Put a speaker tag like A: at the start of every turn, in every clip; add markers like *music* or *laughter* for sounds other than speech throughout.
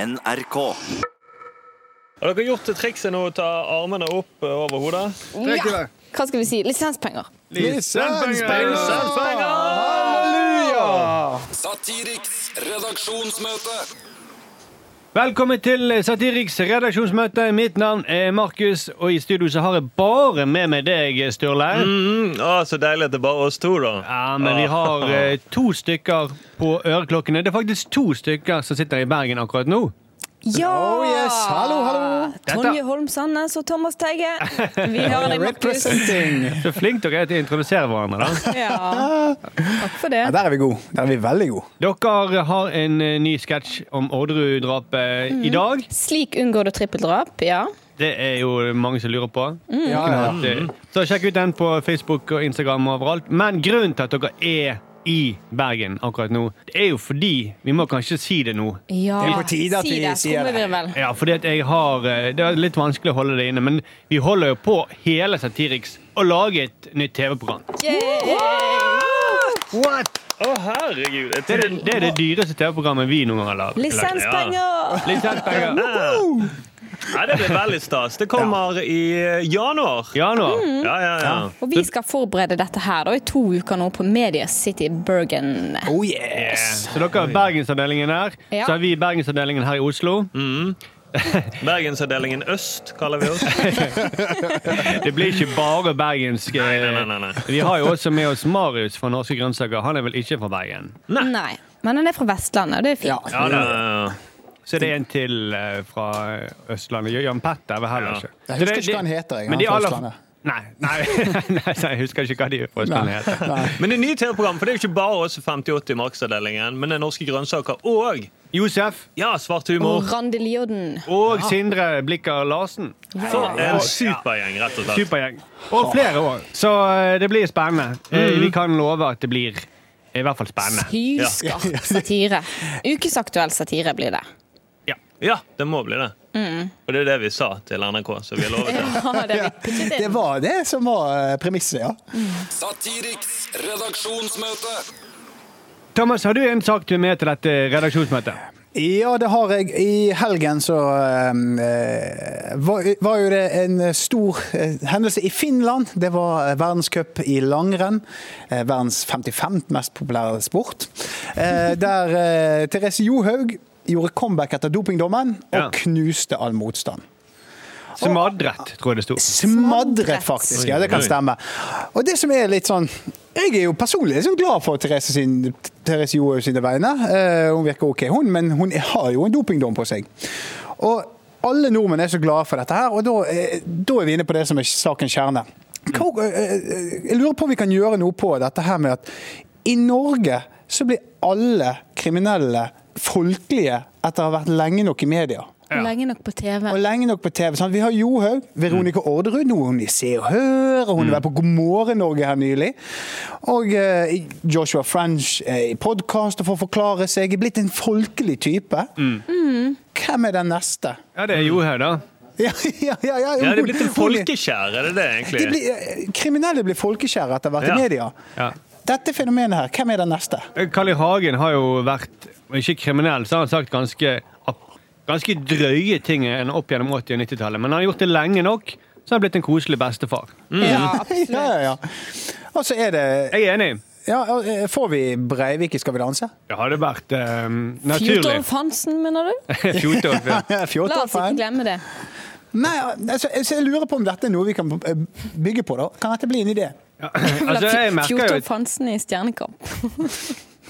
A: NRK.
B: Har dere gjort det trikset nå? Ta armene opp eh, over hodet.
C: Det er ikke
D: Ja.
C: det.
D: Hva skal vi si? Lisenspenger.
C: Lisenspenger!
E: Satiriks redaksjonsmøte.
F: Velkommen til Satiriks redaksjonsmøte. Mitt navn er Markus, og i studio så har jeg bare med meg deg, Sturle.
B: Mm, å, så deilig at det bare er oss to, da.
F: Ja, men vi har eh, to stykker på øreklokkene. Det er faktisk to stykker som sitter i Bergen akkurat nå.
D: Ja!
C: Oh, yes. Hallo, hallo.
D: Tonje
F: Dette-
D: Holm Sandnes og Thomas Teige. Vi hører deg, Markus.
C: Representing.
F: Så flink dere er til å introdusere hverandre. da.
D: Ja. Takk for det.
C: Ja, der er vi gode. Der er vi veldig gode.
F: Dere har en eh, ny sketsj om Orderud-drapet i dag.
D: Slik unngår du trippeldrap, ja.
F: Det er jo mange som lurer på.
C: Mm. Ja, ja.
F: At, eh, Så sjekk ut den på Facebook og Instagram og overalt. Men grunnen til at dere er i Bergen akkurat nå, det er jo fordi Vi må kanskje si det nå.
D: ja.
C: Det er på tide at vi
D: Si
C: sier det.
D: skummevirvel.
F: Ja, fordi at jeg har eh, Det er litt vanskelig å holde det inne, men vi holder jo på hele Satiriks å lage et nytt TV-program.
B: Å, herregud. Jeg
F: Det, er
B: trodde-
F: det- det er det dyreste TV-programmet vi noen gang har lagd.
D: Lisenspenger!
F: Lisenspenger.
B: Nei, det blir veldig stas. Det kommer i eh, januar. Mm.
F: Ja, nå.
D: Mm.
B: Ja, ja, ja.
D: Og vi skal forberede dette her da, i to uker nå på Media City Bergen.
C: Oh yes.
F: Eh, Så dere har Bergensavdelingen her.
D: Ja.
F: Så har vi Bergensavdelingen her i Oslo.
B: Bergensavdelingen Øst kaller
F: *laughs*
B: vi oss.
F: Det blir ikke bare bergensk. eh,
B: Nei, nei, nei, nei, nei.
F: Vi har jo også med oss Marius fra Norske Grønnsaker. Han er vel ikke fra Bergen.
D: Nei. Men han er fra Vestlandet, og det er
C: Ja.
D: fint.
B: Ja, da, ja,
F: Så det er en til eh, fra Østlandet. Jan Petter er vel heller
B: Ja.
F: ikke.
C: Jeg
F: Så
C: husker ikke hva han heter, jeg.
F: men
C: Han
F: de
C: er fra
F: aller-
C: Østlandet.
F: Nei, nei, *laughs* nei, så jeg husker ikke hva de fra Østlandet
C: Nei.
F: heter.
C: Nei.
B: Men det nye TV-programmet, for det er jo ikke bare oss 50-80 i Markedsavdelingen, men det er norske grønnsaker og
F: Josef
B: ja, svart
D: Og
B: humor.
D: Randi Lioden.
F: og
C: Ah.
F: Sindre Blikker Larsen.
B: For en supergjeng, rett og slett.
F: Supergjeng. Og flere år. Så eh, det blir spennende.
C: Mm.
F: Eh, Vi kan love at det blir i hvert fall spennende.
D: Hyskarp satire. Ukesaktuell satire blir det.
B: Ja, det må bli det. Og det er det vi sa til NRK, så vi har lovet
D: *laughs*
B: det.
D: Ja, det er pitchet
C: Det
D: inn.
C: var det som var eh, premisset, ja.
E: Satiriks redaksjonsmøte.
F: Thomas, har du en sak du er med til dette redaksjonsmøtet?
C: Ja, det har jeg. I helgen så eh, var, var jo det en stor eh, hendelse i Finland. Det var eh, verdenscup i langrenn. eh, verdens 55. mest populære sport. eh, der eh, Therese Johaug gjorde comeback etter dopingdommen og
F: Ja.
C: knuste all motstand.
F: Smadret, tror jeg det sto.
C: Smadret, faktisk. Ja, det kan stemme. Og det som er litt sånn jeg er jo personlig liksom glad for Therese, sin, Therese Johaug sine vegne. Eh, hun virker ok, hun, men hun har jo en dopingdom på seg. Og alle nordmenn er så glade for dette her, og da, eh, da er vi inne på det som er sakens kjerne. Hva, eh, eh, jeg lurer på om vi kan gjøre noe på dette her med at i Norge så blir alle kriminelle folkelige etter å ha vært lenge nok i media.
D: Lenge nok på TV.
C: Og lenge nok på TV. Sant? Vi har Johaug, Veronica
B: Mm.
C: Orderud, nå er hun i Se og Hør, og hun var på God morgen Norge her nylig. Og eh, Joshua French eh, i podkast og får forklare seg. Er blitt en folkelig type.
B: Mm.
D: Mm.
C: Hvem er den neste? *laughs*
F: Ja, det er Johaug, da.
C: Ja, ja, ja, ja,
B: Ja, det er
C: hun-
B: blitt en
C: hun-
B: folkeskjær, er det det egentlig?
C: de blir, eh, kriminelle blir folkeskjære etter hvert
B: Ja.
C: i media.
F: Ja.
C: Dette fenomenet her, hvem er den neste?
F: Carl I. Hagen har jo vært, ikke kriminell, så har han sagt ganske, ganske drøye ting enn opp gjennom 80- og 90-tallet. Men han har gjort det lenge nok, så har han blitt en koselig bestefar.
D: Ja,
C: Ja,
D: absolutt.
C: ja, ja. Og så er det
F: Jeg er enig.
C: ja, eh, Får vi Breivik i Skal vi danse?
F: Det hadde vært eh, naturlig. *laughs*
D: Fjortolf Hansen, mener du?
F: Fjortolf,
C: *laughs*
F: ja.
D: La
C: Fjortolf,
D: oss ikke
C: han.
D: glemme det.
C: Nei, altså, jeg- så jeg lurer på om dette er noe vi kan eh, bygge på. da. Kan dette bli en idé?
F: *laughs* Altså, jeg merker jo
D: Fjortolf Hansen i Stjernekamp.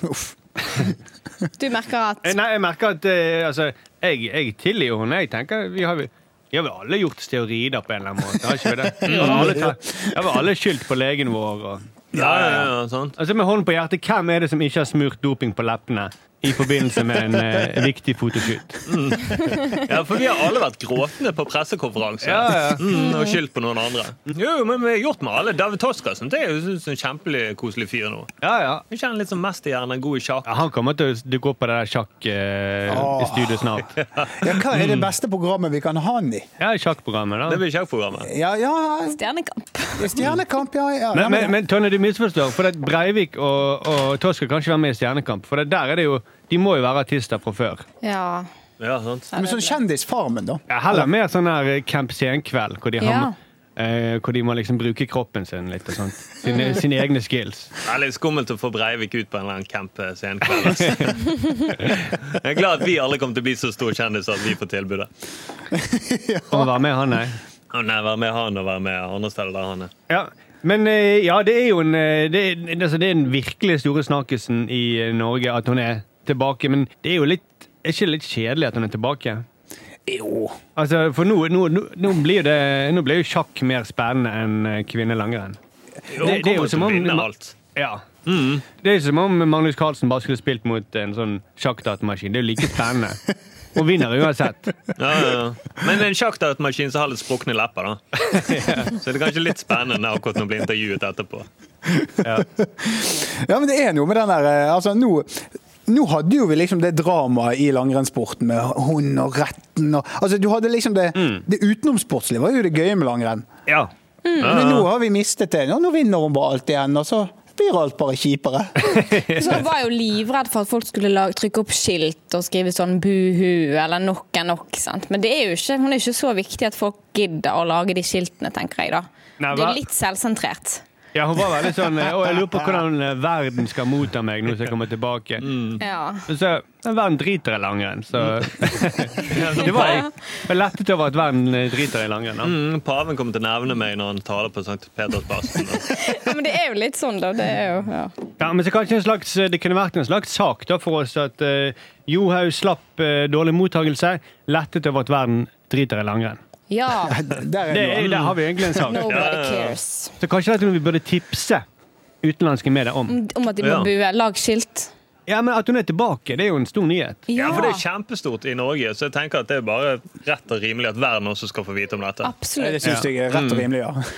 C: Uff.
D: Du merker at
F: Eh, Nei, jeg merker at eh, altså, jeg, jeg tilgir jo henne. Jeg tenker vi har, vi har vel alle gjort steorider på en eller annen måte. Har ikke vi det? Vi har vel alle, ta- vi har vel alle skyldt på legen vår. Og,
B: Ja, ja, ja, sant.
F: Altså Med hånden på hjertet, hvem er det som ikke har smurt doping på leppene i forbindelse med en *laughs* eh, viktig fotoshoot?
B: ja, for vi har alle vært gråtende på pressekonferanse
F: Ja, ja.
B: Mm, og skyldt på noen andre. Jo, men vi har gjort med alle. David Toskarsen det er jo synes jeg, en kjempekoselig fyr nå.
F: Ja, ja.
B: Jeg kjenner litt som mesterhjernen, god i sjakk.
F: Ja, Han kommer til å dukke opp på det der sjakk eh, i studio
B: *laughs*
F: snart.
C: Ja, hva er
F: Mm.
C: det beste programmet vi kan ha han i?
F: Ja, sjakkprogrammet,
B: Det
F: da.
B: blir sjakkprogrammet.
C: Ja, ja,
D: *laughs* Stjernekamp
C: Stjernekamp, ja. ja.
F: Men,
C: Nei,
F: men, men Tonje, du misforstår. For at Breivik og, og Tosk skal kanskje være med i Stjernekamp. For det der er det jo De må jo være artister fra før.
D: Ja.
B: Ja, sant?
C: Men sånn Kjendisfarmen, da.
F: Ja, heller mer sånn her eh, Camp Senkveld, hvor de,
D: Ja.
F: har, eh, hvor de må liksom bruke kroppen sin litt. og sånt. Sine, sine egne skills.
B: Det er litt skummelt å få Breivik ut på en eller annen camp eh, senkveld. ass. Jeg er glad at vi alle kommer til å bli så store kjendiser at vi får tilbudet.
F: Om å være med han, nei.
B: Å nei, Være med han og være med andre steder der han er.
F: Ja. Men eh, ja, det er jo en eh, det, er- altså, det er den virkelig store snakkisen i eh, Norge at hun er tilbake. Men det er jo litt er ikke det litt kjedelig at hun er tilbake?
C: Jo.
F: Altså, For nå, nå, nå, nå blir det Nå blir jo sjakk mer spennende enn eh, kvinnelangrenn.
B: Jo,
F: Det- det er
B: han
F: jo
B: kommer
F: som
B: til å
F: om-
B: vinne alt.
F: Ja. Det er som om Magnus Carlsen bare skulle spilt mot en sånn sjakkdatamaskin. Det er jo like spennende. Og vinner uansett.
B: Ja, ja, ja. Men en sjakkdatmaskin som har litt sprukne lepper,
F: *laughs*
B: da. Så det er kanskje litt spennende akkurat når hun blir intervjuet etterpå.
C: Ja, men det er noe med den der eh, Altså, nå nå hadde jo vi liksom det dramaet i langrennssporten med hund og retten og Altså, du hadde liksom det
F: Mm.
C: Det utenomsportslige var jo det gøye med langrenn.
F: Ja.
C: Men nå har vi mistet det. Nå, nå vinner hun bare alt igjen, og så blir alt bare kjipere.
F: *laughs*
D: Så han var jo livredd for at folk skulle lage, trykke opp skilt og skrive sånn buhu eller nok er nok. Sant? Men det er jo ikke, hun er jo ikke så viktig at folk gidder å lage de skiltene, tenker jeg da.
F: Nei,
D: det
F: hva-
D: er litt selvsentrert.
F: ja, hun var veldig sånn eh, Å, jeg lurer på hvordan eh, verden skal motta meg nå som jeg kommer tilbake.
D: Ja.
F: Og så, men Verden driter i
B: Mm.
F: langrenn, så *laughs* Det var jeg ble lettet over at verden eh, driter i langrenn. da.
B: Mm, paven kommer til å nevne meg når han taler på St. Petersplassen.
D: ja, men det er jo litt sånn, da. Det er jo ja.
F: Ja, men så kanskje en slags, eh, Det kunne vært en slags sak da for oss at eh, Johaug slapp eh, dårlig mottagelse, lettet over at verden driter i langrenn.
D: ja.
C: Der
F: Det,
C: er
F: er- der har vi egentlig
B: *laughs*
F: en sak.
D: Nobody cares.
F: Så kanskje dette vi burde tipse utenlandske medier
B: Mm.
F: om.
D: Om at de må
B: Ja.
D: bue. Lag skilt.
F: Ja, men At hun er tilbake, det er jo en stor nyhet.
B: Ja, for det er kjempestort i Norge, så jeg tenker at det er bare rett og rimelig at verden også skal få vite om dette.
C: noe Det
D: Absolutt.
C: syns jeg er rett og rimelig, ja.
F: Mm.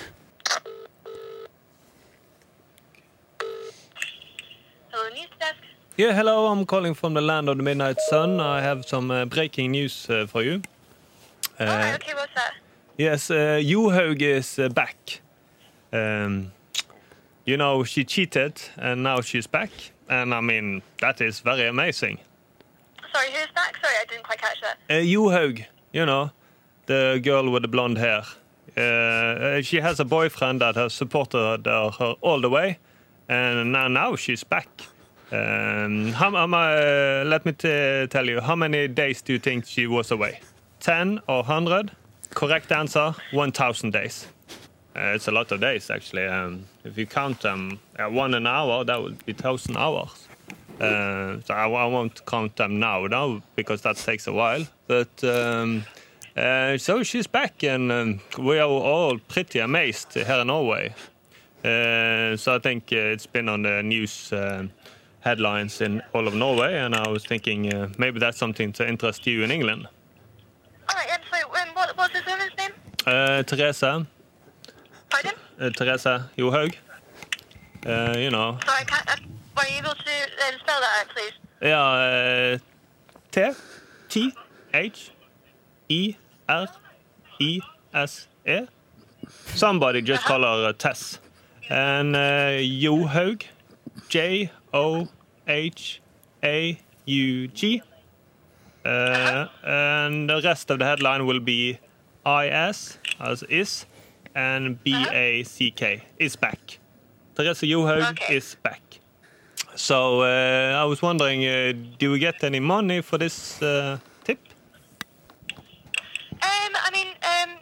A: Hello, news desk.
B: Yeah, hello, I'm calling from the land of the midnight sun. I have some uh, breaking news uh, for you.
A: All right,
B: Uh,
A: okay, what's that?
B: yes, uh, Johaug is uh, back. Um, you know, she cheated, and now she's back. And I mean, that is very amazing.
A: Sorry, who's back? Sorry, I didn't quite catch that.
B: Uh, Johaug, you know, the girl with the blonde hair. Uh, uh, she has a boyfriend that has supported her, her all the way, and now now she's back. Um, how, am I, uh, let me t- tell you, how many days do you think she was away? 10 or 100? Correct answer 1,000 days. Uh, it's a lot of days, actually. Um, if you count them, uh, one an hour, that would be 1,000 hours. Uh, so I, I won't count them now, now because that takes a while. But um, uh, so she's back, and um, we are all pretty amazed here in Norway. Uh, so I think uh, it's been on the news uh, headlines in all of Norway, and I was thinking uh, maybe that's something to interest you in England.
A: All right, and so um, what, what's this woman's name?
B: Uh, Therese, uh,
A: Pardon?
B: Therese Johaug. Uh, you know,
A: Sorry, I can't, I, were you able to um, spell that out, please?
B: yeah, uh, T T H E R E S E. Somebody just call her uh, Tess. And uh, Johaug, J O H A U G. Uh, and the rest of the headline will be I S as is and B A C K is back. Therese Johaug
A: Okay.
B: is back. So uh, I was wondering, uh, do we get any money for this uh, tip?
A: Um, I mean, um,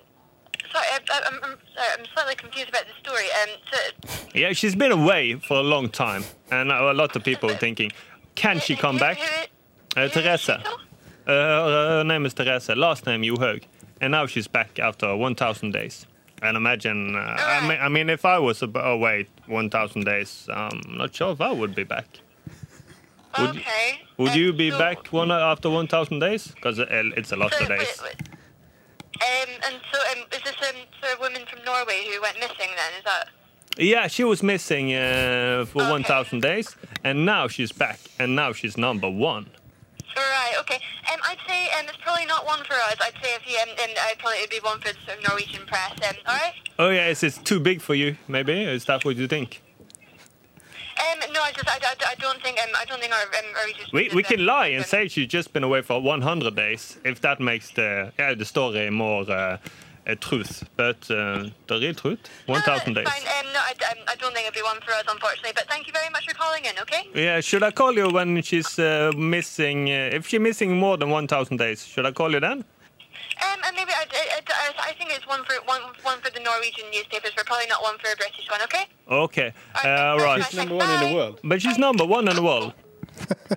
A: sorry, I, I, I'm, I'm, sorry, I'm slightly confused about the story. Um, so,
B: Yeah, she's been away for a long time, and a lot of people are thinking, can she come
A: who-
B: back?
A: Who,
B: Uh,
A: who is
B: Therese.
A: she
B: Uh,
A: to?
B: her name is Therese, last name Johaug, and now she's back after 1,000 days. And imagine, uh, I, mean, I mean, if I was ab- away 1,000 days, I'm not sure if I would be back. Would you-
A: okay.
B: Would
A: um,
B: you be
A: so-
B: back one after 1,000 days? Because it's a lot
A: So,
B: of
A: wait,
B: days.
A: wait. Um, and so, um, is this um, sort of woman from Norway who went missing then? Is that.
B: Yeah, she was missing uh, for
A: Okay.
B: 1,000 days, and now she's back, and now she's number one.
A: Right, okay. Um, I'd say um, it's probably not one for us. I'd say if you, um, um, I'd probably it'd be one for the sort of Norwegian press. Um, all right?
B: Oh yeah, is it too big for you? Maybe is that what you think?
A: Um, no, I just I, I, I don't think um, I don't think our um, our research.
B: We,
A: is
B: we
A: that-
B: can lie and
A: um,
B: say she's just been away for 100 days, if that makes the, yeah, the story more uh, a truth. But uh, the real truth,
A: no,
B: 1,000
A: that's
B: days.
A: Fine. Um, no, I, um, I don't think it'd be one for us, unfortunately. But thank you very much for calling in. Okay.
B: Yeah, should I call you when she's uh, missing, uh, if she's missing more than 1,000 days, should I call you then?
A: Um, and maybe I, I, I, I think it's one for one one for the Norwegian newspapers, but probably not one for a British one. Okay.
B: Okay, uh,
A: All
B: all right.
A: She's number one in the world.
B: But she's number one in the world.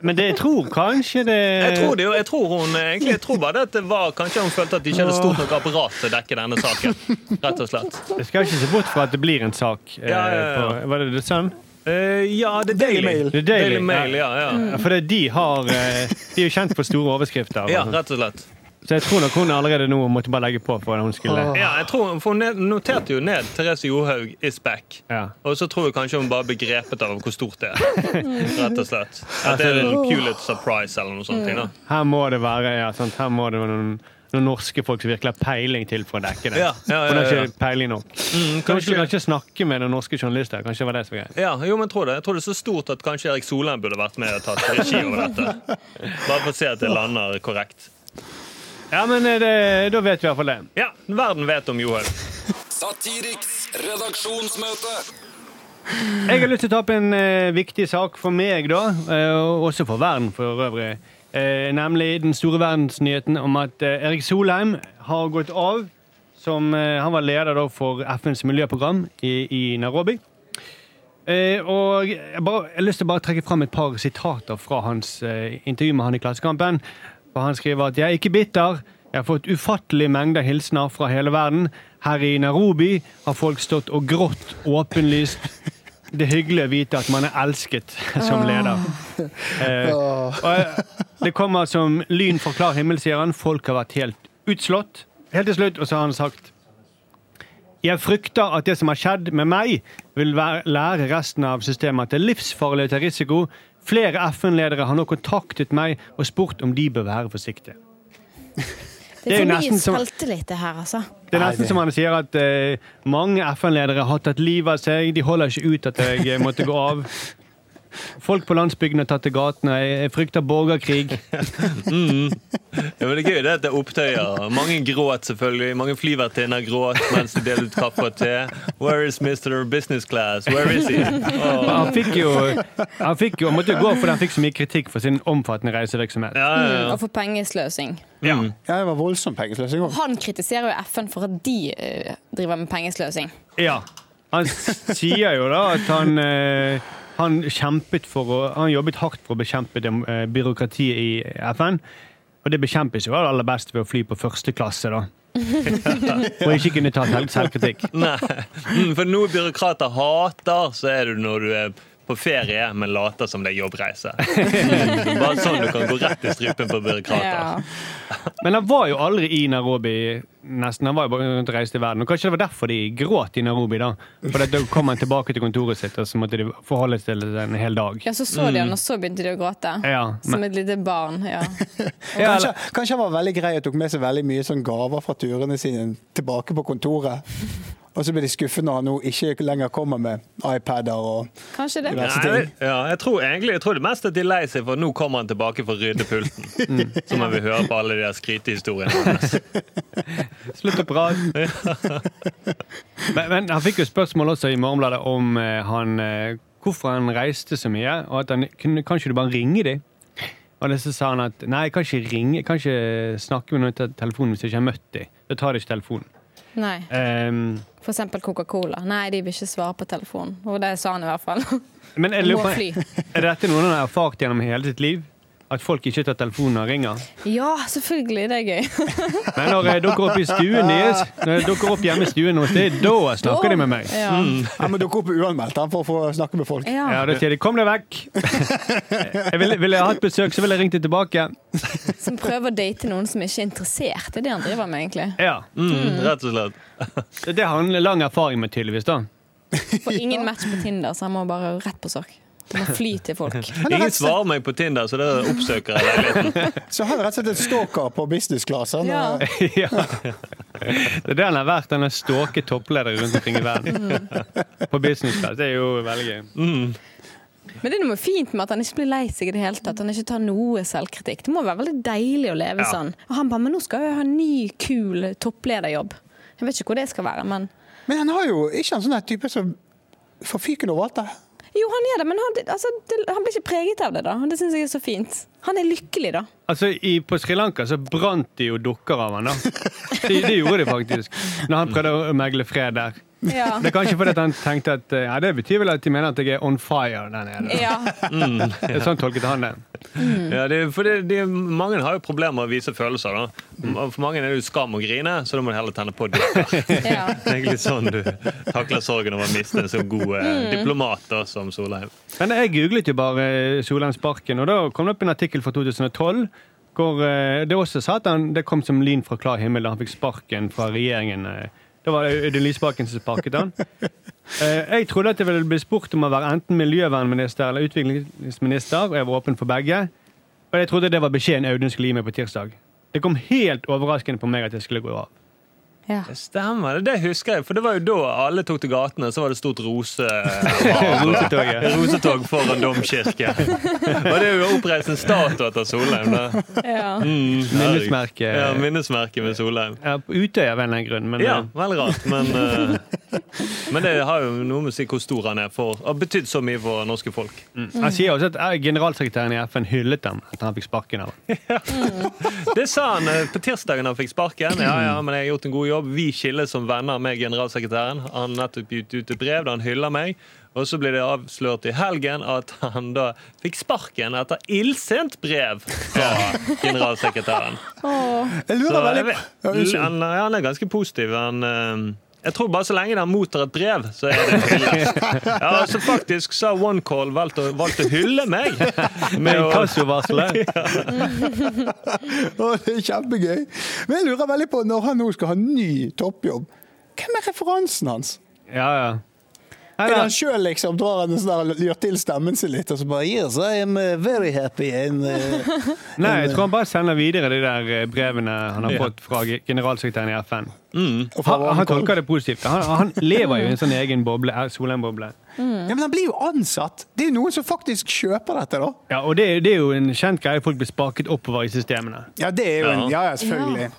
F: Men det jeg tror kanskje det
B: Jeg tror, det, jo- jeg tror hun eh, egentlig jeg tror bare det at det var Kanskje hun følte at de ikke hadde stort nok apparat til å dekke denne saken. Rett og slett.
F: Jeg skal ikke se bort fra at det blir en sak. eh,
B: Ja, ja, ja.
F: På, var det The Sun?
B: Eh, ja, det er
C: Daily
B: Daily
C: Mail. Mm.
F: Det er Daily,
B: Daily Mail, ja, ja.
F: Ja, Mm. For det, de, har, eh, de er jo kjent for store overskrifter. og
B: ja,
F: sånt.
B: rett og slett.
F: Så jeg tror nok hun allerede nå måtte bare legge på for at hun skulle
B: Ja, jeg tror hun- For hun ned- noterte jo ned Therese Johaug is back.
F: Ja.
B: Og så tror jeg kanskje hun bare ble grepet av hvor stort det
F: *laughs*
B: er. Rett og slett. At det
F: Altså,
B: er en Pulitzer Prize eller noe
C: Mm.
B: sånt. da.
F: Her må det være ja, sant? Her må det være noen, noen norske folk som virkelig har peiling til for å dekke det.
B: Ja, ja, ja,
F: Hun har
B: ja, ja.
F: ikke peiling nok. Mm, kanskje,
B: kanskje-
F: kanskje snakke med noen norske journalister. Kanskje det var det som var greit.
B: Ja, jo, men jeg tror det. Jeg tror det er så stort at kanskje Erik Solheim burde vært med og tatt regi over dette.
C: *laughs*
B: Bare for å se at det lander korrekt.
F: Ja, men eh, det, da vet vi i hvert fall det.
B: Ja, verden vet om Johaug.
E: Satiriks redaksjonsmøte.
F: Jeg har lyst til å ta opp en eh, viktig sak for meg, da, eh, og også for verden for øvrig. Eh, nemlig den store verdensnyheten om at eh, Erik Solheim har gått av. Som, eh, han var leder da, for FNs miljøprogram i, i Nairobi. Eh, og jeg, bare, jeg har lyst til å bare trekke fram et par sitater fra hans eh, intervju med han i Klassekampen. For han skriver at 'jeg er ikke bitter'. Jeg har fått ufattelige mengder hilsener fra hele verden. Her i Nairobi har folk stått og grått åpenlyst. Det er hyggelig å vite at man er elsket *laughs* som leder. Eh, og jeg- det kommer som lyn fra klar himmel, sier han. Folk har vært helt utslått. Helt til slutt, og så har han sagt jeg frykter at det som har skjedd med meg, vil være, lære resten av systemet at det er livsfarlig å ta risiko. Flere FN-ledere har nå kontaktet meg og spurt om de bør være forsiktige.
D: Det er
F: jo
D: for
F: nesten
D: mye
F: som-
D: selvtillit, det her, altså.
F: Det er nesten som han sier at eh, mange FN-ledere har tatt livet av seg. De holder ikke ut at jeg eh, måtte gå av. Folk på landsbygden har tatt til gatene. Jeg jeg frykter borgerkrig.
B: Ja, men det er gøy det at det er opptøyer. Mange gråt selvfølgelig. Mange flyvertinner gråt mens de deler ut kaffe og te. Where is Mr. Business Class? Where is he? Åh.
F: Men Han fikk jo, han fikk jo, han måtte jo gå fordi han fikk så mye kritikk for sin omfattende reisevirksomhet.
B: Ja, ja, ja.
D: Og for pengesløsing.
B: Mm.
C: Ja, det var voldsom pengesløsing. også.
D: Han kritiserer jo FN for at de eh, driver med pengesløsing.
F: Ja. Han s- sier jo da at han, eh, han kjempet for å Han jobbet hardt for å bekjempe dem, eh, byråkratiet i FN. Og det bekjempes jo aller best ved å fly på første klasse, da. Og ikke kunne ta selv- selvkritikk.
B: Nei. Mm, For noe byråkrater hater, så er det når du er på ferie, men later som det er jobbreise. Mm. Bare sånn du kan gå rett i strupen på byråkrater.
D: Ja.
F: Men han var jo aldri i Nairobi, nesten. Han var jo bare rundt og reiste i verden. Og kanskje det var derfor de gråt i Nairobi, da. For da kom han tilbake til kontoret sitt, og så måtte de forholde seg til det en hel dag.
D: Ja, så så
B: Mm.
D: de han, og så begynte de å gråte.
F: Ja,
D: Som et lite barn. ja.
F: Ja,
C: Kanskje, kanskje han var veldig grei og tok med seg veldig mye sånn gaver fra turene sine tilbake på kontoret. Og så blir de skuffet når han nå ikke lenger kommer med iPader og
D: Kanskje det.
C: diverse
B: Nei,
C: ting.
B: ja, jeg tror egentlig jeg tror det mest at de er lei seg, for nå kommer han tilbake for å rydde pulten. Så må vi høre på alle de der skrytehistoriene hans.
F: Slutt å prate. men, men han fikk jo spørsmål også i Morgenbladet om eh, han, eh, hvorfor han reiste så mye. Og at han kunne, kan ikke du bare ringe dem? Og det så sa han at nei, jeg kan ikke ringe, jeg kan ikke snakke med noen til telefonen hvis jeg ikke har møtt dem. Da tar de ikke telefonen.
D: Nei.
F: Ehm,
D: For eksempel Coca-Cola. Nei, de vil ikke svare på telefonen. Og det sa han i hvert fall. *laughs*
F: men jeg
D: Må
F: lurer
D: fly.
F: på, er dette noe han har erfart gjennom hele sitt liv? At folk ikke tar telefonen og ringer?
D: Ja, selvfølgelig. Det er gøy.
F: Men når jeg dukker opp i stuen deres, når jeg dukker opp hjemme i stuen hos deg, da snakker de med meg.
D: Ja.
B: Mm.
C: Han må dukke opp uanmeldt han, for å få snakke med folk.
D: Ja.
F: Ja, da sier de 'kom deg *laughs* vekk'. Jeg ville, ville jeg hatt besøk, så ville jeg ringt deg tilbake.
D: Som prøver å date noen som ikke er interessert. Det er det han driver med, egentlig.
F: Ja,
B: Mm, rett og slett.
F: Det det har han lang erfaring med, tydeligvis. da.
D: For ingen match på Tinder, så han må bare rett på sak. Han må fly til
C: *laughs*
D: folk.
B: Ingen svarer meg på Tinder, så det oppsøker jeg leiligheten.
C: Så han er rett og slett en stalker på business class. Han,
D: Ja.
C: eh,
F: *laughs* Ja. Det er det han har vært. Han har *laughs* stalket toppledere rundt omkring i verden. På business class. Det er jo veldig gøy.
D: Men det er noe fint med at han ikke blir lei seg i det hele tatt. Han ikke tar noe selvkritikk. Det må være veldig deilig å leve
B: Ja.
D: sånn. Og han bare Men nå skal jeg ha en ny, kul topplederjobb. Jeg vet ikke hvor det skal være, men
C: Men han har jo ikke en sånn her type som får fyken over alt det.
D: Jo, han er det, men han, altså, det, han blir ikke preget av det, da. Det syns jeg er så fint. Han er lykkelig, da.
F: Altså, i, På Sri Lanka så brant de jo dukker av han *laughs* da. De, de gjorde det faktisk. Når han prøvde å megle fred der.
D: Ja.
F: Det er kanskje fordi at han tenkte at eh, ja, det betyr vel at de mener at jeg er on fire der nede.
D: ja.
F: Sånn tolket han det.
B: Ja, det, for det, det, mange har jo problemer med å vise følelser. Da. For mange er det jo skam å grine, så da må du heller tenne på dukker.
D: ja.
B: Det er egentlig sånn du takler sorgen over å miste en så god eh, diplomat da, som Solheim.
F: Men jeg googlet jo bare Solheimsparken, og da kom det opp en artikkel fra 2012 hvor eh, det også sa at han, det kom som lyn fra klar himmel da han fikk sparken fra regjeringen. eh. Da var det Audun Lysbakken som sparket han. Eh, Jeg trodde at jeg ville bli spurt om å være enten miljøvernminister eller utviklingsminister, og jeg var åpen for begge. Og jeg trodde det var beskjeden Audun skulle gi meg på tirsdag. Det kom helt overraskende på meg at jeg skulle gå av.
D: *laughs* ja.
B: Det stemmer, det, det husker jeg. For det var jo da alle tok til gatene, så var det stort rose, eh, Ah.
F: *laughs* Rotetoget.
B: *laughs* rosetog foran domkirken. Og det er jo oppreist en statue etter Solheim. Da.
D: ja.
B: Mm,
F: Minnesmerke.
B: Ja, minnesmerke med Solheim.
F: Ja, på Utøya av en eller annen grunn, men
B: Ja,
F: eh,
B: veldig rart, men, eh, men det har jo noe med å si hvor stor han er for Har betydd så mye for norske folk.
F: Han sier også at eh, generalsekretæren i FN hyllet ham etter han fikk sparken av ham.
B: Det sa han eh, på tirsdagen han fikk sparken. Ja, ja, men jeg har gjort en god jobb. Vi skilles som venner med generalsekretæren. Han har nettopp gitt ut et brev der han hyller meg. Og så ble det avslørt i helgen at han da fikk sparken etter illsint brev fra generalsekretæren.
C: Jeg
B: Så eh,
C: lurer
B: jeg
C: veldig
B: vet- Mm,
C: Ja, Unnskyld.
B: han, han er ganske positiv. Han, eh, jeg tror bare så lenge han mottar et brev, så er det hyllest. Ja, så faktisk så har OneCall valgt, å- valgt å hylle meg. Med
F: Men
B: å,
F: inkassovarselet
C: Å, det er kjempegøy. Men jeg lurer veldig på, når han nå skal ha ny toppjobb, hvem er referansen hans?
F: Ja, ja. Nei,
C: Er det
F: da.
C: han sjøl liksom drar han sånn der, gjør til stemmen sin litt, og så bare Yes, I am eh, very happy and
F: *laughs*
C: eh,
F: Nei, jeg tror han bare sender videre de der eh, brevene han har fått fra ge- generalsekretæren i FN.
C: og fra
F: Han, han
C: Varenkål.
F: tolker det positivt. Han, han lever jo i en sånn egen boble, eh, Solheim-boble.
C: Ja, Men han blir jo ansatt! Det er jo noen som faktisk kjøper dette, da.
F: Ja, og det, det er jo en kjent greie. Folk blir sparket oppover i systemene.
C: Ja, det er jo en, ja, ja, selvfølgelig.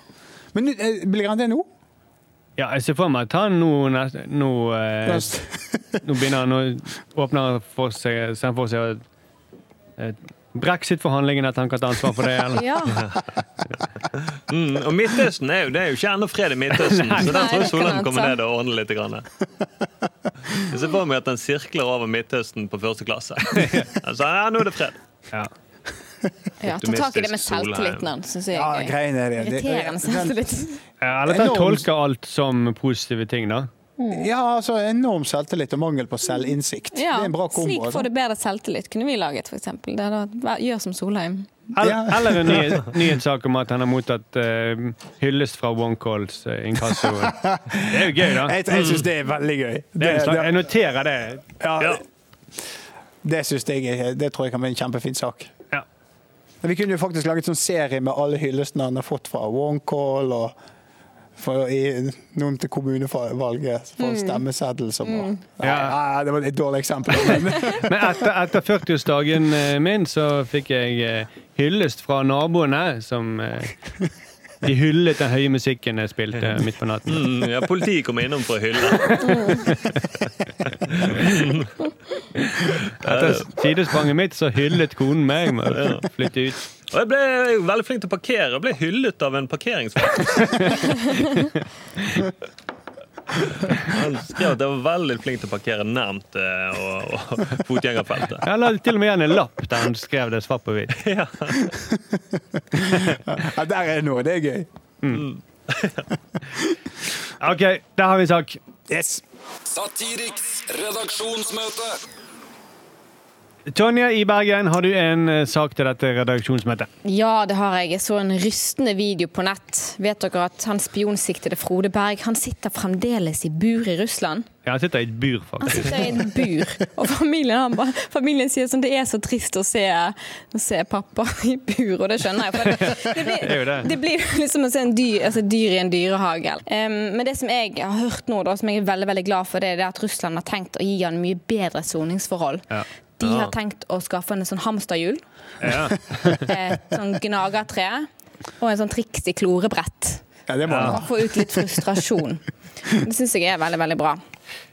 C: Men nu- eh, blir han det nå?
F: Ja, jeg ser for meg at han nå nest- Nå, eh, nå begynner han å åpner han for seg, ser han for seg eh, brexit-forhandlingene, at han kan ta ansvar for det. Eller?
D: ja.
B: mm, og Midtøsten er jo, det er jo ikke ennå fred i Midtøsten, så den
D: Nei,
B: tror jeg
D: det kan
B: Solheim
D: han
B: kommer
D: ta.
B: ned og ordner litt. Grann. Jeg ser for meg at den sirkler over Midtøsten på første klasse. Altså, ja, nå er det fred.
F: Ja.
D: ja. Ta tak i det med
B: Optimistisk Solheim.
D: selvtilliten hans, syns jeg.
C: Ja,
D: er gøy.
C: greien er det. det
D: Irriterende selvtillit.
F: Ja, Eh, Eller at han
C: Enormt.
F: tolker alt som positive ting, da.
C: ja, altså enorm selvtillit og mangel på selvinnsikt.
D: Ja,
C: det er en bra kombo.
D: Slik får
C: altså.
D: du bedre selvtillit, kunne vi laget, f.eks. Det hadde vært- vær- Gjør som Solheim.
F: Eller, *laughs* eller en nyhet, nyhetssak om at han har mottatt eh, hyllest fra OneCalls uh, inkasso. Det er jo gøy, da.
C: Jeg, jeg syns det er veldig gøy.
F: Det er en slags, jeg
C: det,
F: noterer det.
C: ja,
B: Ja.
C: det, synes jeg, er- det tror jeg kan bli en kjempefin sak.
F: Ja.
C: Men Vi kunne jo faktisk laget sånn serie med alle hyllestene han har fått fra OneCall og for, i, noen til kommunevalget
D: Mm.
C: for stemmeseddel som var nei,
F: Ja.
C: nei, Det var et dårlig eksempel.
F: *laughs*
C: Men,
F: Men etter, etter 40-årsdagen eh, min så fikk jeg eh, hyllest fra naboene, som eh, De hyllet den høye musikken jeg spilte midt på natten.
B: Mm, ja, politiet kom innom for å hylle.
F: Etter sidespranget mitt så hyllet konen meg med å flytte ut.
B: Og jeg ble veldig flink til å parkere og ble hyllet av en parkeringsvakt. Han skrev at jeg var veldig flink til å parkere nærmt eh, og, og
F: *laughs*
B: fotgjengerfeltet.
F: Jeg la til og med igjen en lapp der han skrev det svart på hvitt.
C: ja, der er det noe. Det er
D: *laughs*
C: gøy.
F: OK, der har vi en sak.
C: Yes.
E: Satiriks redaksjonsmøte.
F: Tonje i Bergen, har du en eh, sak til dette redaksjonsmøtet?
D: Ja, det har jeg. Jeg så en rystende video på nett. Vet dere at han spionsiktede Frode Berg han sitter fremdeles i bur i Russland?
F: Ja, Jeg sitter i et bur,
D: Han
F: faktisk.
D: sitter i et bur, og familien, han bare, familien sier sånn Det er så trist å se, å se pappa i bur, og det skjønner jeg. For det, det,
F: Det er jo
D: blir,
F: det.
D: det blir jo liksom å se en dyr, altså et dyr i en dyrehage. Em, men det som jeg har hørt nå, da, som jeg er veldig veldig glad for, det er det at Russland har tenkt å gi han mye bedre soningsforhold.
F: Ja.
D: de
B: Ja.
D: har tenkt å skaffe en sånn hamsterhjul,
B: Ja.
D: et sånn gnagertre og en sånn triks i klorebrett.
C: Ja, det må han ha.
D: Få ut litt frustrasjon. Det syns jeg er veldig, veldig bra.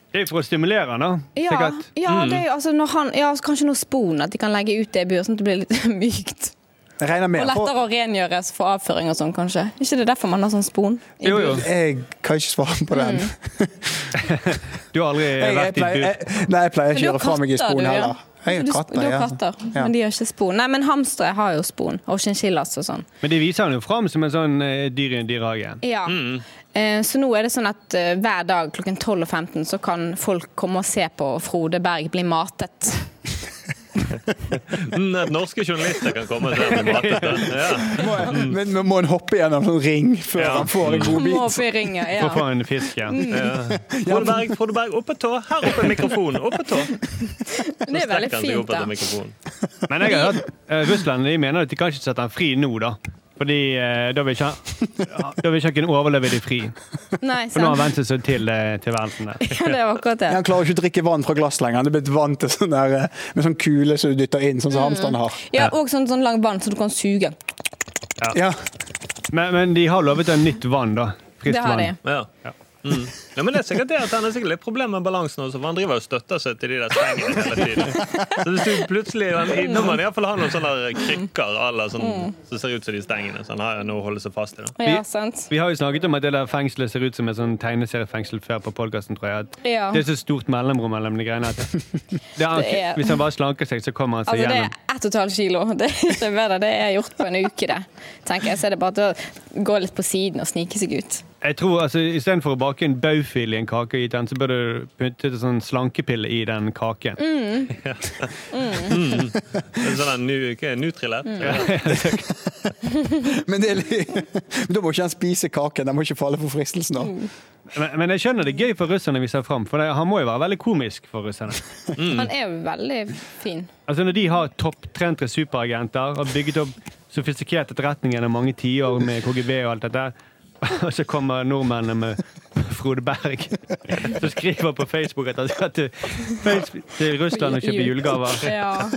F: Det er jo for å stimulere han, da.
D: Ja,
F: Sikkert.
D: ja, det er jo, altså, når han, ja så kanskje noe spon, at de kan legge ut det i buer, sånn at det blir litt *laughs* mykt.
C: Jeg regner
D: Og
C: med
D: lettere å rengjøres for avføring og sånn, kanskje. Er ikke det derfor man har sånn spon? i
F: Jo, jo.
D: bur?
C: Jeg kan ikke svare på
D: Mm.
C: den.
F: Du har aldri eh,
C: Jeg, jeg
F: vært i
C: pleier,
F: bur.
C: jeg, nei, jeg pleier
D: Men du har
C: ikke å gjøre fra meg i
D: katter, du,
C: spoen
D: ja.
C: heller. Jeg
D: Du-
C: har katter,
D: du har
C: ja.
D: katter,
C: Ja.
D: men de har ikke spon. Nei, men hamstere har jo spon, og chinchillas og sånn.
F: Men det viser han jo fram som en sånn eh, dyr i en dyrehage.
D: Ja. Eh, Så nå er det sånn at eh, hver dag klokken 12 og 15 så kan folk komme og se på Frode Berg bli matet.
B: Mm, At norske journalister kan komme og se på matete. Ja.
C: Må jeg- Men men må en hoppe gjennom sånn ring før
B: Ja.
C: han får en god
D: Må
C: bit?
D: opp i ringen,
F: For
D: ja. Mm.
F: å få en fisk, ja.
B: Frode Berg, Frode Berg, oppe tå. Her oppe er mikrofonen. Oppe tå.
D: Det er veldig
B: Strekker han seg
D: fint,
B: opp
D: da.
B: etter mikrofonen.
F: Men jeg har hørt eh, Russland de mener at de kan ikke sette han fri nå, da. Fordi eh, da vil ikke
D: *laughs*
F: han ja, Da vil ikke han overleve de fri.
D: Nei,
F: For nå har han
D: sant.
F: vent seg til eh, tilværelsen der.
D: *laughs* Ja, det er akkurat det.
C: Han klarer ikke å drikke vann fra glass lenger. Han er blitt vant til sånn der, eh, med sånn kule som du dytter inn, sånn som
D: Mm.
C: hamsteren har.
D: Ja, og sånn, sånn lang vann, så du kan suge.
C: Ja.
F: Men, men de har lovet ham nytt vann, da. Friskt
D: Det har de.
F: vann.
B: Ja. Mm. Ja, men det er sikkert det at han har sikkert litt problemer med balansen også, for han driver og støtter seg til de der stengene hele tiden. Så hvis du plutselig han, Nå må han iallfall ha noen sånne der krykker à la
D: Mm.
B: sånn, som ser ut som de stengene, så han har jo noe å holde seg fast i. da.
D: Ja, sant.
F: Vi har jo snakket om at det der fengselet ser ut som et sånn tegneseriefengsel før på podkasten, tror jeg. At
D: Ja.
F: Det er så stort mellomrom mellom de
D: *laughs*
F: greiene. At det, er,
D: Det er-
F: Hvis han bare slanker seg, så kommer han seg
D: Altså, det er
F: gjennom.
D: ett og et halvt kilo. *laughs* Det er ikke bedre. Det er gjort på en uke, det. Tenker jeg. Så er det bare til å gå litt på siden og snike seg ut.
F: Jeg tror, altså, Istedenfor å bake en baufil i en kake og gi den, så bør du putte en sånn slankepille i den kaken.
D: Mm.
B: En Sånn der nu, hva er det, Nutrilett.
D: Mm.
B: Ja.
C: Men, det er litt, *laughs* men da må ikke han spise kaken. Han må ikke falle for fristelsen. da.
D: Mm.
F: Men, men jeg skjønner det er gøy for russerne vi ser fram, for det, han må jo være veldig komisk for russerne. Mm.
D: Han er jo veldig fin.
F: Altså Når de har topptrente superagenter og bygget opp sofistikert etterretning gjennom mange tiår med KGB og alt dette, og så kommer nordmennene med Frode Berg som skriver på Facebook at han skal til, Face- til Russland og kjøpe julegaver.
D: *laughs* Ja.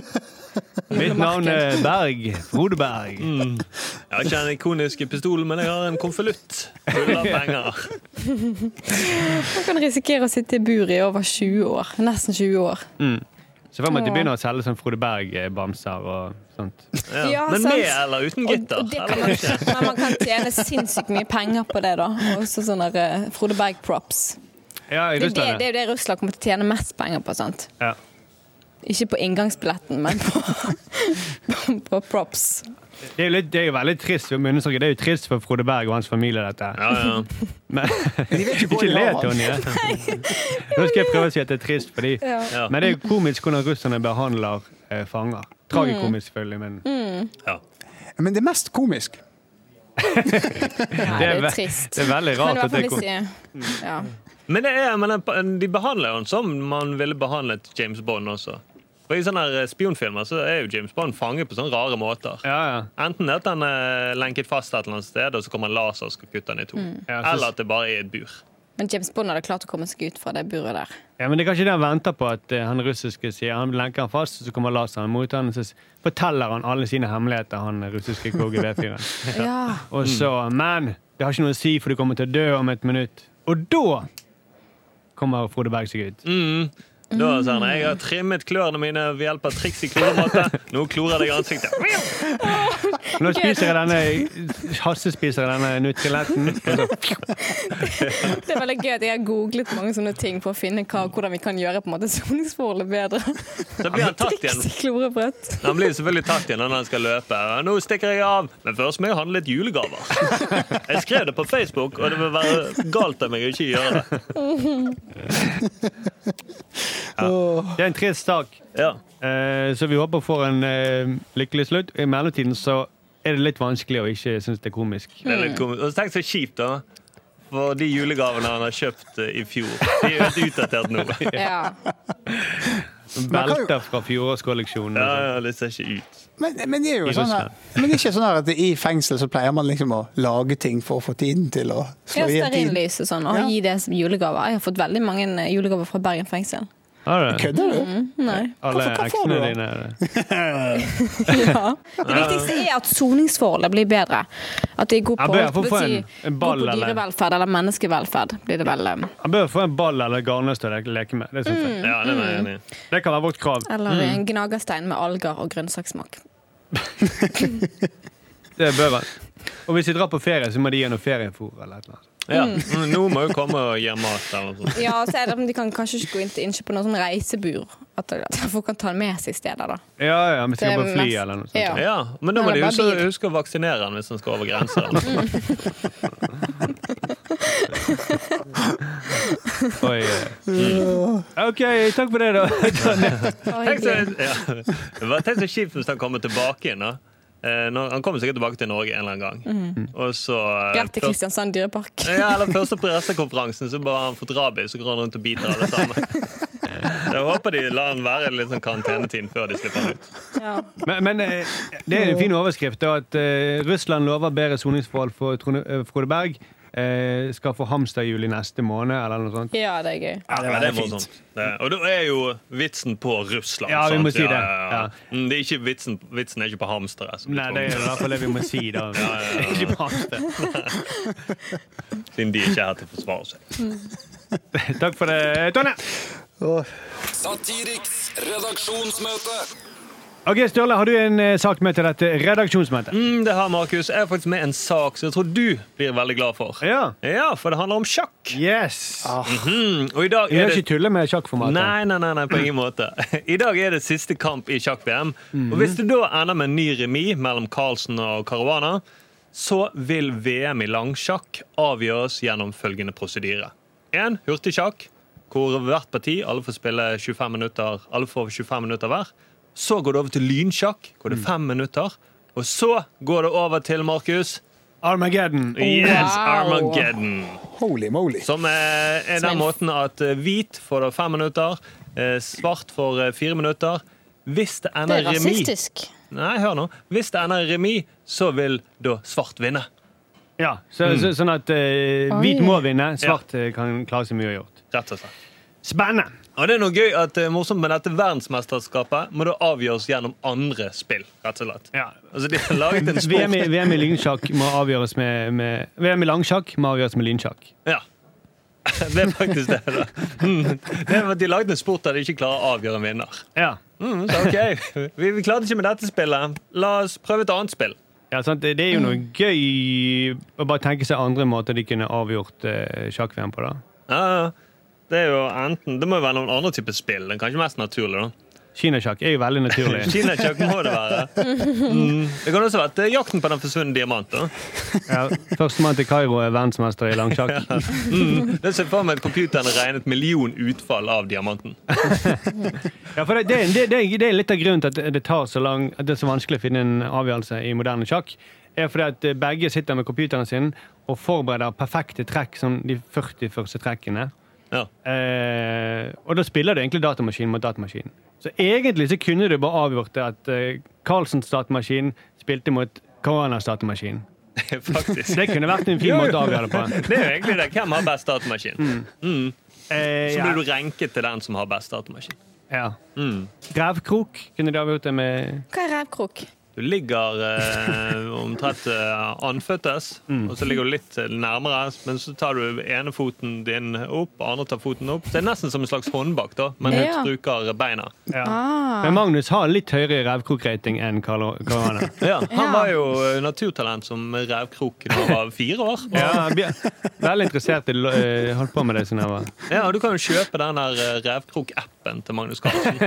F: Mitt navn er Berg. Frode Berg.
B: Jeg har ikke den ikoniske pistolen, men jeg har en konvolutt full av penger.
D: Man kan risikere å sitte i bur i over 20 år. Nesten 20 år.
F: Så får man til å begynne å selge sånn Frode Berg-bamser og sånt.
B: Ja.
D: *laughs* Ja,
B: men
D: sant.
B: med eller uten
D: Og,
B: gitter?
D: og det kan
B: eller
D: man
B: ikke?
D: ikke. Men man kan tjene sinnssykt mye penger på det, da. Også sånne eh, Frode Berg-props.
F: Ja, i
D: Det, er det, det
F: Russland.
D: er
F: ja.
D: jo det Russland kommer til å tjene mest penger på. sant?
F: Ja.
D: Ikke på inngangsbilletten, men på, *laughs* på props.
F: Det er jo litt- det er jo veldig trist vi må understreke. Det er jo trist for Frode Berg og hans familie, dette.
B: Ja, ja.
C: *laughs*
F: Men,
C: ikke
F: ikke
C: hvor de
F: le,
C: har han.
F: Tonje. *laughs* Nå skal jeg prøve å si at det er trist, fordi
B: Ja.
F: Men det er jo komisk hvordan russerne behandler eh, fanger. Tragikomisk,
D: Mm.
F: selvfølgelig, men
B: Ja.
C: Men det er mest komisk.
D: Nei,
F: det,
D: det
F: er
D: er
F: ve-
D: trist.
F: det er veldig
D: Men i
F: rart
D: hvert
F: at det
D: fall
F: kom.
D: hvis jeg, ja.
B: Men, det er, men den- de behandler jo den som man ville behandlet James Bond også. For I sånne her spionfilmer så er jo James Bond fanget på sånne rare måter.
F: Ja, ja.
B: Enten at han er lenket fast et eller annet sted, og så kommer en laser og skal kutte han i to.
F: Ja, så-
B: Eller at det bare er et bur.
D: Men James Bond hadde klart å komme seg ut fra det buret der.
F: ja, men det er kanskje det han venter på at eh, han russiske sier. Han lenker han fast, så kommer laseren mot han, og så s- forteller han alle sine hemmeligheter, han russiske KGB-fyren.
D: *laughs* Ja.
C: Mm.
F: Og så Men det har ikke noe å si, for du kommer til å dø om et minutt. Og da kommer Frode Berg seg ut.
C: Mm.
B: Da sier han jeg har trimmet klørne mine ved hjelp av triks i kloremåte. Nå klorer jeg *laughs* ansiktet.
F: Nå spiser jeg
C: *laughs*
F: denne Hassespiser jeg denne nutriletten. og så-
D: Det er veldig gøy at jeg har googlet mange sånne ting for å finne hva, hvordan vi kan gjøre på en måte soningsforholdet bedre.
F: *laughs*
B: Så blir han tatt igjen.
D: Triks i klorebrett.
B: Han blir selvfølgelig tatt igjen når han skal løpe. Og Nå stikker jeg av, men først må jeg handle litt *laughs* julegaver. Jeg skrev det på Facebook, og det vil være galt av meg å ikke gjøre det.
F: Det er en trist sak.
B: Ja.
F: Eh, Så vi håper får en eh, lykkelig slutt. I mellomtiden så er det litt vanskelig å ikke synes det er komisk.
B: Det er litt komisk. Og tenk så kjipt, da. For de julegavene han har kjøpt eh, i fjor, de er jo helt utdatert nå. *laughs*
D: Ja.
C: kan jo-
F: Belter fra fjorårskolleksjonen. liksom.
B: Ja,
F: og sånt.
B: ja, det ser ikke ut.
C: Men, men det er jo
F: I
C: sånn her, men det er ikke sånn her at i fengsel så pleier man liksom å lage ting for å få tiden til å slå
D: Ja,
C: i en tid.
D: Stearinlys og sånn. Og
C: Ja. *laughs*
D: gi det som julegaver. Jeg har fått veldig mange eh, julegaver fra Bergen fengsel.
F: Har du?
C: Kødder du?
D: Nei.
F: Alle
C: Hvorfor- hva får
F: eksene
C: du da?
F: dine er det.
D: Ja. Det viktigste er at soningsforholdet blir bedre. At de er gode
F: Ja,
D: på,
F: bør jeg få
D: holdt på å
F: få
D: si,
F: en- en ball,
D: god på
F: eller?
D: dyrevelferd eller menneskevelferd. Blir det vel, eh,
F: Han bør få en ball eller garnnøst å leke- leke med. Det, synes jeg.
B: Ja, den er jeg enig
C: Mm.
B: i.
F: det kan være vårt krav.
D: eller en gnagerstein med alger og grønnsakssmak.
F: Det bør han. Og hvis de drar på ferie, så må de gi noe feriefôr eller et eller annet.
B: Ja. Mm, Noen må jo komme og gi mat eller noe sånt.
D: Ja, så er det, De kan kanskje ikke gå inn til innkjøp på noe sånn reisebur. At at folk kan ta den med seg steder. da.
F: Ja, ja, hvis de
D: Det
F: går
D: er
F: på fly
D: mest-
F: eller noe sånt.
D: ja.
B: Ja, men da må
D: Eller
B: de
D: bare
B: huske,
D: bil.
B: huske å vaksinere den hvis den skal over grenser.
F: *laughs*
B: eller noe.
F: Oi, eh. OK, takk for det, da. *laughs*
D: Å,
B: Tenk
D: hyggelig.
B: så- ja. Det var- Tenk så kjipt hvis han kommer tilbake igjen. da. Eh, når- Han kommer sikkert tilbake til Norge en eller annen
F: Mm.
B: gang. Og så eh,
D: Greit til
B: først-
D: Kristiansand dyrepark.
B: ja, eller Første pressekonferansen så bare har han fått rabies og går han rundt og biter alle
F: *laughs*
B: sammen. Jeg håper de lar han være i litt sånn karantenetid før de slipper han ut.
D: Ja.
F: Men, men eh, det er en fin overskrift. Da, at eh, Russland lover bedre soningsforhold for Trone, eh, Frode Berg. eh, skal få hamsterhjul i neste måned, eller noe sånt.
D: ja, det er gøy.
B: Ja,
C: det
B: men
C: var
B: det er
C: fint.
B: morsomt. Det er- Og da er jo vitsen på Russland.
F: Ja, vi må
B: sant?
F: si det. Ja.
B: Mm, det er ikke vitsen, vitsen er ikke på hamstere. altså.
F: Nei, det er i hvert fall det vi må si, da. *laughs* Ikke på hamster.
B: Siden de ikke er her til å forsvare seg.
F: Takk for det, Tonje.
E: Satiriks redaksjonsmøte.
F: OK, Sturle, har du en eh, sak med til dette redaksjonsmøtet?
B: Mm, det har Markus. Jeg er faktisk med en sak som jeg tror du blir veldig glad for.
F: Ja.
B: Ja, for det handler om sjakk.
F: Yes.
B: Mm, og i dag
F: Vi
B: er
F: vil
B: det
F: ikke tulle med sjakkformatet.
B: Nei, nei, nei, nei, på ingen måte. *laughs* I dag er det siste kamp i sjakk-VM. Og hvis det da ender med en ny remis mellom Carlsen og Caruana, så vil VM i langsjakk avgjøres gjennom følgende prosedyre. 1. Hurtigsjakk, hvor hvert parti alle får spille 25 minutter, alle får 25 minutter hver. Så går det over til lynsjakk, hvor det er fem minutter. Og så går det over til Markus.
F: Armageddon.
B: Yes,
D: Wow.
B: Armageddon.
C: Holy moly.
B: Som eh, er den
D: Smell.
B: måten at eh, hvit får da fem minutter, eh, svart får eh, fire minutter. Hvis det
D: Det
B: ender
D: er
B: remis
D: rasistisk.
B: Nei, hør nå. Hvis det ender remis, så vil da svart vinne.
F: Ja, så, så, sånn at eh,
D: Oi.
F: hvit må vinne, svart eh, kan klare seg mye uavgjort.
B: Rett og slett.
F: Spennende!
B: Og det er noe gøy at eh, morsomt med dette verdensmesterskapet må da avgjøres gjennom andre spill. rett og slett.
F: Ja.
B: Altså, De har laget
F: *laughs*
B: en
F: VM i,
B: sport.
F: VM i lynsjakk må avgjøres med, med VM i langsjakk må avgjøres med lynsjakk.
B: Ja. *laughs* Det er faktisk det. da. Mm. Det er at De laget en sport der de ikke klarer å avgjøre en vinner.
F: Ja.
B: Mm, så ok, vi, vi klarte ikke med dette spillet. La oss prøve et annet spill.
F: ja sant? Det det er jo noe gøy å bare tenke seg andre måter de kunne avgjort eh, sjakk-VM på. da.
B: Ja, ja. det er jo enten Det må jo være noen andre typer spill. Den kanskje mest naturlig, da.
F: Kinasjakk er jo veldig
B: *laughs*
F: naturlig.
B: Kinakjøkken må det være. Mm. Det kan også være at det er jakten på den forsvunne diamant. da.
F: Ja, Førstemann til Kairo er verdensmester i langsjakk.
B: Mm. Det ser jeg for meg at computeren har regnet million utfall av diamanten.
F: Ja, for det, det, det, det, det er litt av grunnen til at det tar så lang At det er så vanskelig å finne en avgjørelse i moderne sjakk. er fordi at eh, begge sitter med computeren sin og forbereder perfekte trekk som de 40 første trekkene.
B: Ja. *laughs*
F: Eh, og da spiller det egentlig datamaskin mot datamaskin. Så egentlig så kunne du bare avgjort det at eh, Carlsens datamaskin spilte mot Koranas datamaskin.
B: Faktisk.
F: Det kunne vært en fin måte å avgjøre det på.
B: Det er jo egentlig det. Hvem har best datamaskin?
F: Eh,
B: Så
F: ja. Mm.
B: blir du renket til den som har best datamaskin.
F: ja. Grevkrok kunne de avgjort det med.
D: Hva er revkrok?
B: Du ligger eh, omtrent eh, anføttes, og så ligger du litt eh, nærmere. Men så tar du ene foten din opp, og andre tar foten opp. Det er nesten som en slags håndbak, da, men du
D: Ja.
B: bruker beina.
F: Ja.
D: Ah.
F: Men Magnus har litt høyere revkrokrating enn Karl- Korana.
B: *laughs* Ja, han
D: Ja.
B: var jo eh, naturtalent som revkrok da han var fire år. Og,
F: Ja, jeg blir veldig interessert i uh, holdt på med det siden jeg var
B: ja, og du kan jo kjøpe den der eh, revkrok-appen til Magnus Carlsen.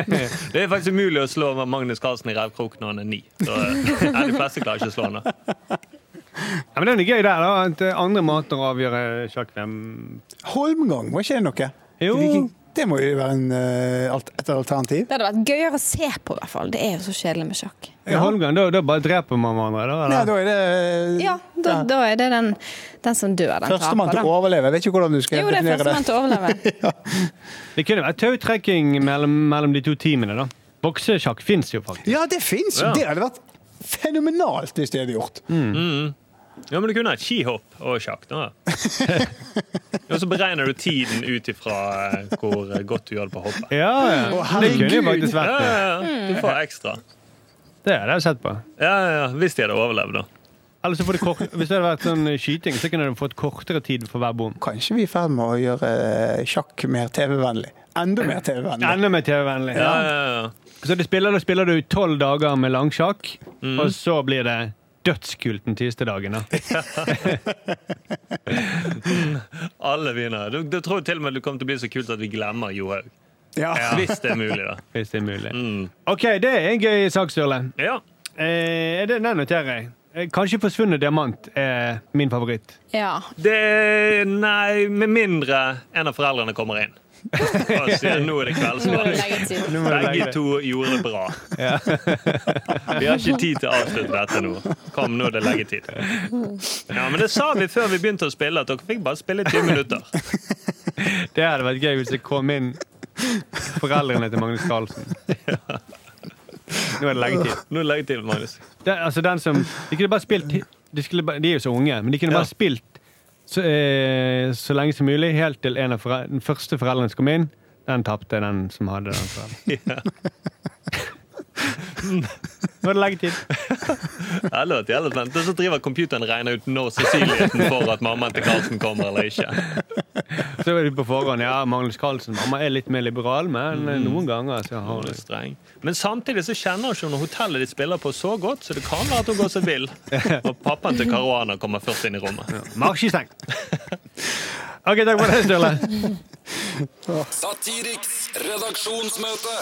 B: Det er faktisk umulig å slå Magnus Carlsen i revkrok når han er ni. Så, eh, ja, de fleste klarer ikke å slå han da.
F: ja, men Det er noe gøy der, da. At eh, andre måter å avgjøre sjakk-VM
C: Holmgang, var ikke det noe?
F: Jo.
C: Viking- Det må jo være en, eh, alt- et alternativ.
D: Det hadde vært gøyere å se på, i hvert fall. Det er jo så kjedelig med sjakk.
F: ja. Holmgang, da, da bare dreper man hverandre, da?
C: Nei,
F: Eller?
C: da er det eh,
D: Ja, da, da er det den, den som dør, den
C: Førstemann til
D: da.
C: å overleve. Jeg vet ikke hvordan du skal
D: Jo, det er førstemann
C: definere det. *laughs*
D: til å overleve.
F: Det kunne vært tautrekking mellom, mellom de to teamene, da. Boksesjakk fins jo faktisk.
C: Ja, Mm. det fins!
B: Ja.
C: Det hadde vært fenomenalt hvis de hadde gjort.
B: Ja, men du kunne hatt skihopp og sjakk. *laughs* nå, da. Og så beregner du tiden ut ifra eh, hvor godt du gjør det på hoppet.
F: Ja, ja. det kunne jo faktisk
B: Ja,
F: vært det.
B: ja, ja. Du får ekstra.
F: Det hadde jeg sett på.
B: Ja, ja, ja. Hvis de hadde overlevd, da.
F: Eller så får du kort, Hvis det hadde vært sånn skyting, så kunne du fått kortere tid for hver bom.
C: Kanskje vi er i ferd med å gjøre eh, sjakk mer TV-vennlig. Enda mer TV-vennlig.
F: Enda mer TV-vennlig.
B: Ja, ja, ja.
F: Så du spiller, da spiller du tolv dager med langsjakk,
B: Mm.
F: og så blir det dødskult den siste dagen. da.
B: Alle vinner. Du, du tror til og med du kommer til å bli så kult at vi glemmer Johaug.
C: Ja.
B: *laughs* Hvis det er mulig, da.
F: Hvis det er mulig.
B: Mm.
F: OK, det er en gøy sak, Sturle.
B: Ja.
F: Eh, er det- den noterer jeg. Eh, Kanskje 'Forsvunnet diamant' er min favoritt.
D: Ja.
B: Det Nei, med mindre en av foreldrene kommer *laughs* inn. Og sier nå er det
D: Nå må du
B: kveldsmat.
D: legge ut siden.
F: Nå må du legge
B: Begge
F: det.
B: to gjorde det bra. Vi har ikke tid til å avslutte dette nå. Kom, nå er det leggetid. Ja, men det sa vi før vi begynte å spille, at dere fikk bare spille i ti minutter.
F: Det hadde vært gøy hvis det kom inn foreldrene til Magnus Carlsen. Nå er det leggetid.
B: Nå er det leggetid, Magnus.
F: Det, altså den som, de kunne bare spilt de, skulle, bare- de er jo så unge, men de kunne
B: Ja.
F: bare spilt så, eh, så lenge som mulig, helt til en av forel- den første foreldrene som kom inn. Den tapte den som hadde den. forelderen. Nå er det leggetid.
B: Eller at jævla spennende. Og så driver computeren og regner ut når sannsynligheten for at mammaen til Karlsen kommer eller ikke.
F: Så er de på forhånd. Ja, Magnus Carlsen. Mamma er litt mer liberal, men eh, noen ganger så har
B: Hun
F: hun
B: er streng. Men samtidig så kjenner hun ikke når hotellet de spiller på, så godt, så det kan være at hun går seg vill. Og pappaen til Caruana kommer først inn i rommet.
F: Marsj i steng! OK, takk for det, Sturle.
E: Satiriks redaksjonsmøte.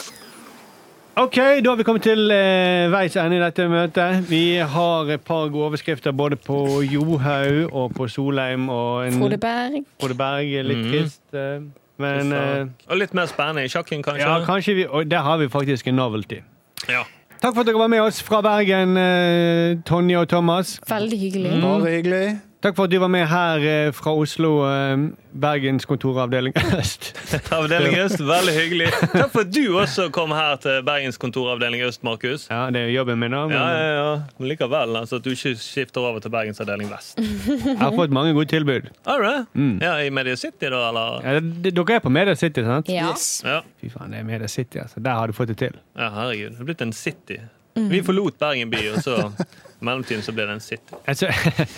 F: Ok, Da har vi kommet til eh, veis ende i dette møtet. Vi har et par gode overskrifter både på Johaug og på Solheim. Og en
D: Frode Berg.
F: Frode Berg er
B: Mm.
F: litt trist. eh, men eh,
B: Og litt mer spennende i sjakken, kanskje.
F: ja, kanskje vi Og der har vi faktisk en novelty.
B: Ja.
F: Takk for at dere var med oss fra Bergen, eh, Tonje og Thomas.
D: Veldig
F: Mm.
D: hyggelig.
C: Bare hyggelig.
F: Takk for at du var med her eh, fra Oslo, eh, Bergens kontoravdeling *laughs* øst.
B: Avdeling Øst, veldig hyggelig. Takk for at du også kom her til Bergens kontoravdeling Øst, Markus.
F: Ja, det er jobben min. da, men
B: Ja, ja, ja. Men likevel, altså at du ikke skifter over til Bergens avdeling Vest.
F: Jeg har fått mange gode tilbud.
B: Har du det? Ja, I Media City, da, eller?
F: Ja, d- dere er på Media City, sant?
D: Ja.
B: Ja.
F: Fy faen, det er Media City, altså. Der har du fått det til.
B: ja, herregud. Det er blitt en city. Vi forlot Bergen by, og så i mellomtiden så ble det en city.
F: Jeg ser,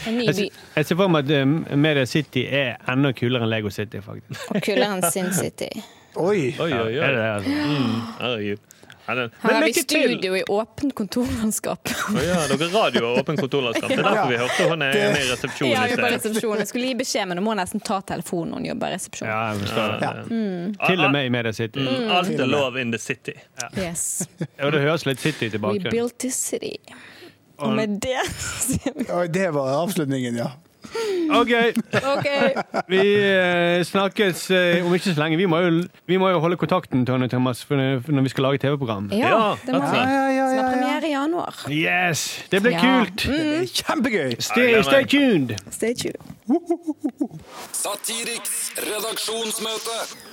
D: En ny
F: jeg
D: by.
F: ser, *laughs* jeg ser for meg at um, Media City er enda kulere enn Lego City, faktisk.
D: Og kulere enn Sin City.
C: Oi.
B: Oi, oi,
F: Er
B: oi.
F: det det, altså?
B: Herregud. Ja, det-
D: Her
B: Men
D: har vi
B: lykke til!
D: studio i åpent
F: *laughs*
D: kontorlandskap.
B: Å ja, dere radio og åpen kontorlandskap. Det er derfor vi hørte hun er inne i resepsjonen
D: Ja,
B: i
D: vi er på
B: sted.
D: resepsjonen. Jeg skulle gi beskjed, men nå må jeg nesten ta telefonen når hun jobber i resepsjonen.
F: Ja, jeg forstår det.
C: Ja.
F: Til og med i Media City.
B: Alt er lov in the city.
D: Yes.
F: Og det høres litt City i
D: We
F: bakgrunnen.
D: built this city. Og med det sier vi
C: Oi, Det var avslutningen, ja.
D: *laughs*
F: OK,
D: *laughs* OK.
F: vi eh, snakkes eh, om ikke så lenge. Vi må jo, vi må jo holde kontakten Tony Thomas, for når når vi skal lage TV-program.
D: Ja,
B: Ja,
D: det må
B: rett og
D: vi.
B: slett.
C: Ja, ja,
D: Som
C: ja,
D: har
C: ja.
D: premiere i januar.
F: Yes! Det blir
D: Ja. Mm.
F: kult!
C: Det er Kjempegøy!
F: Stay, stay tuned!
D: Stay tuned.
E: Satiriks redaksjonsmøte.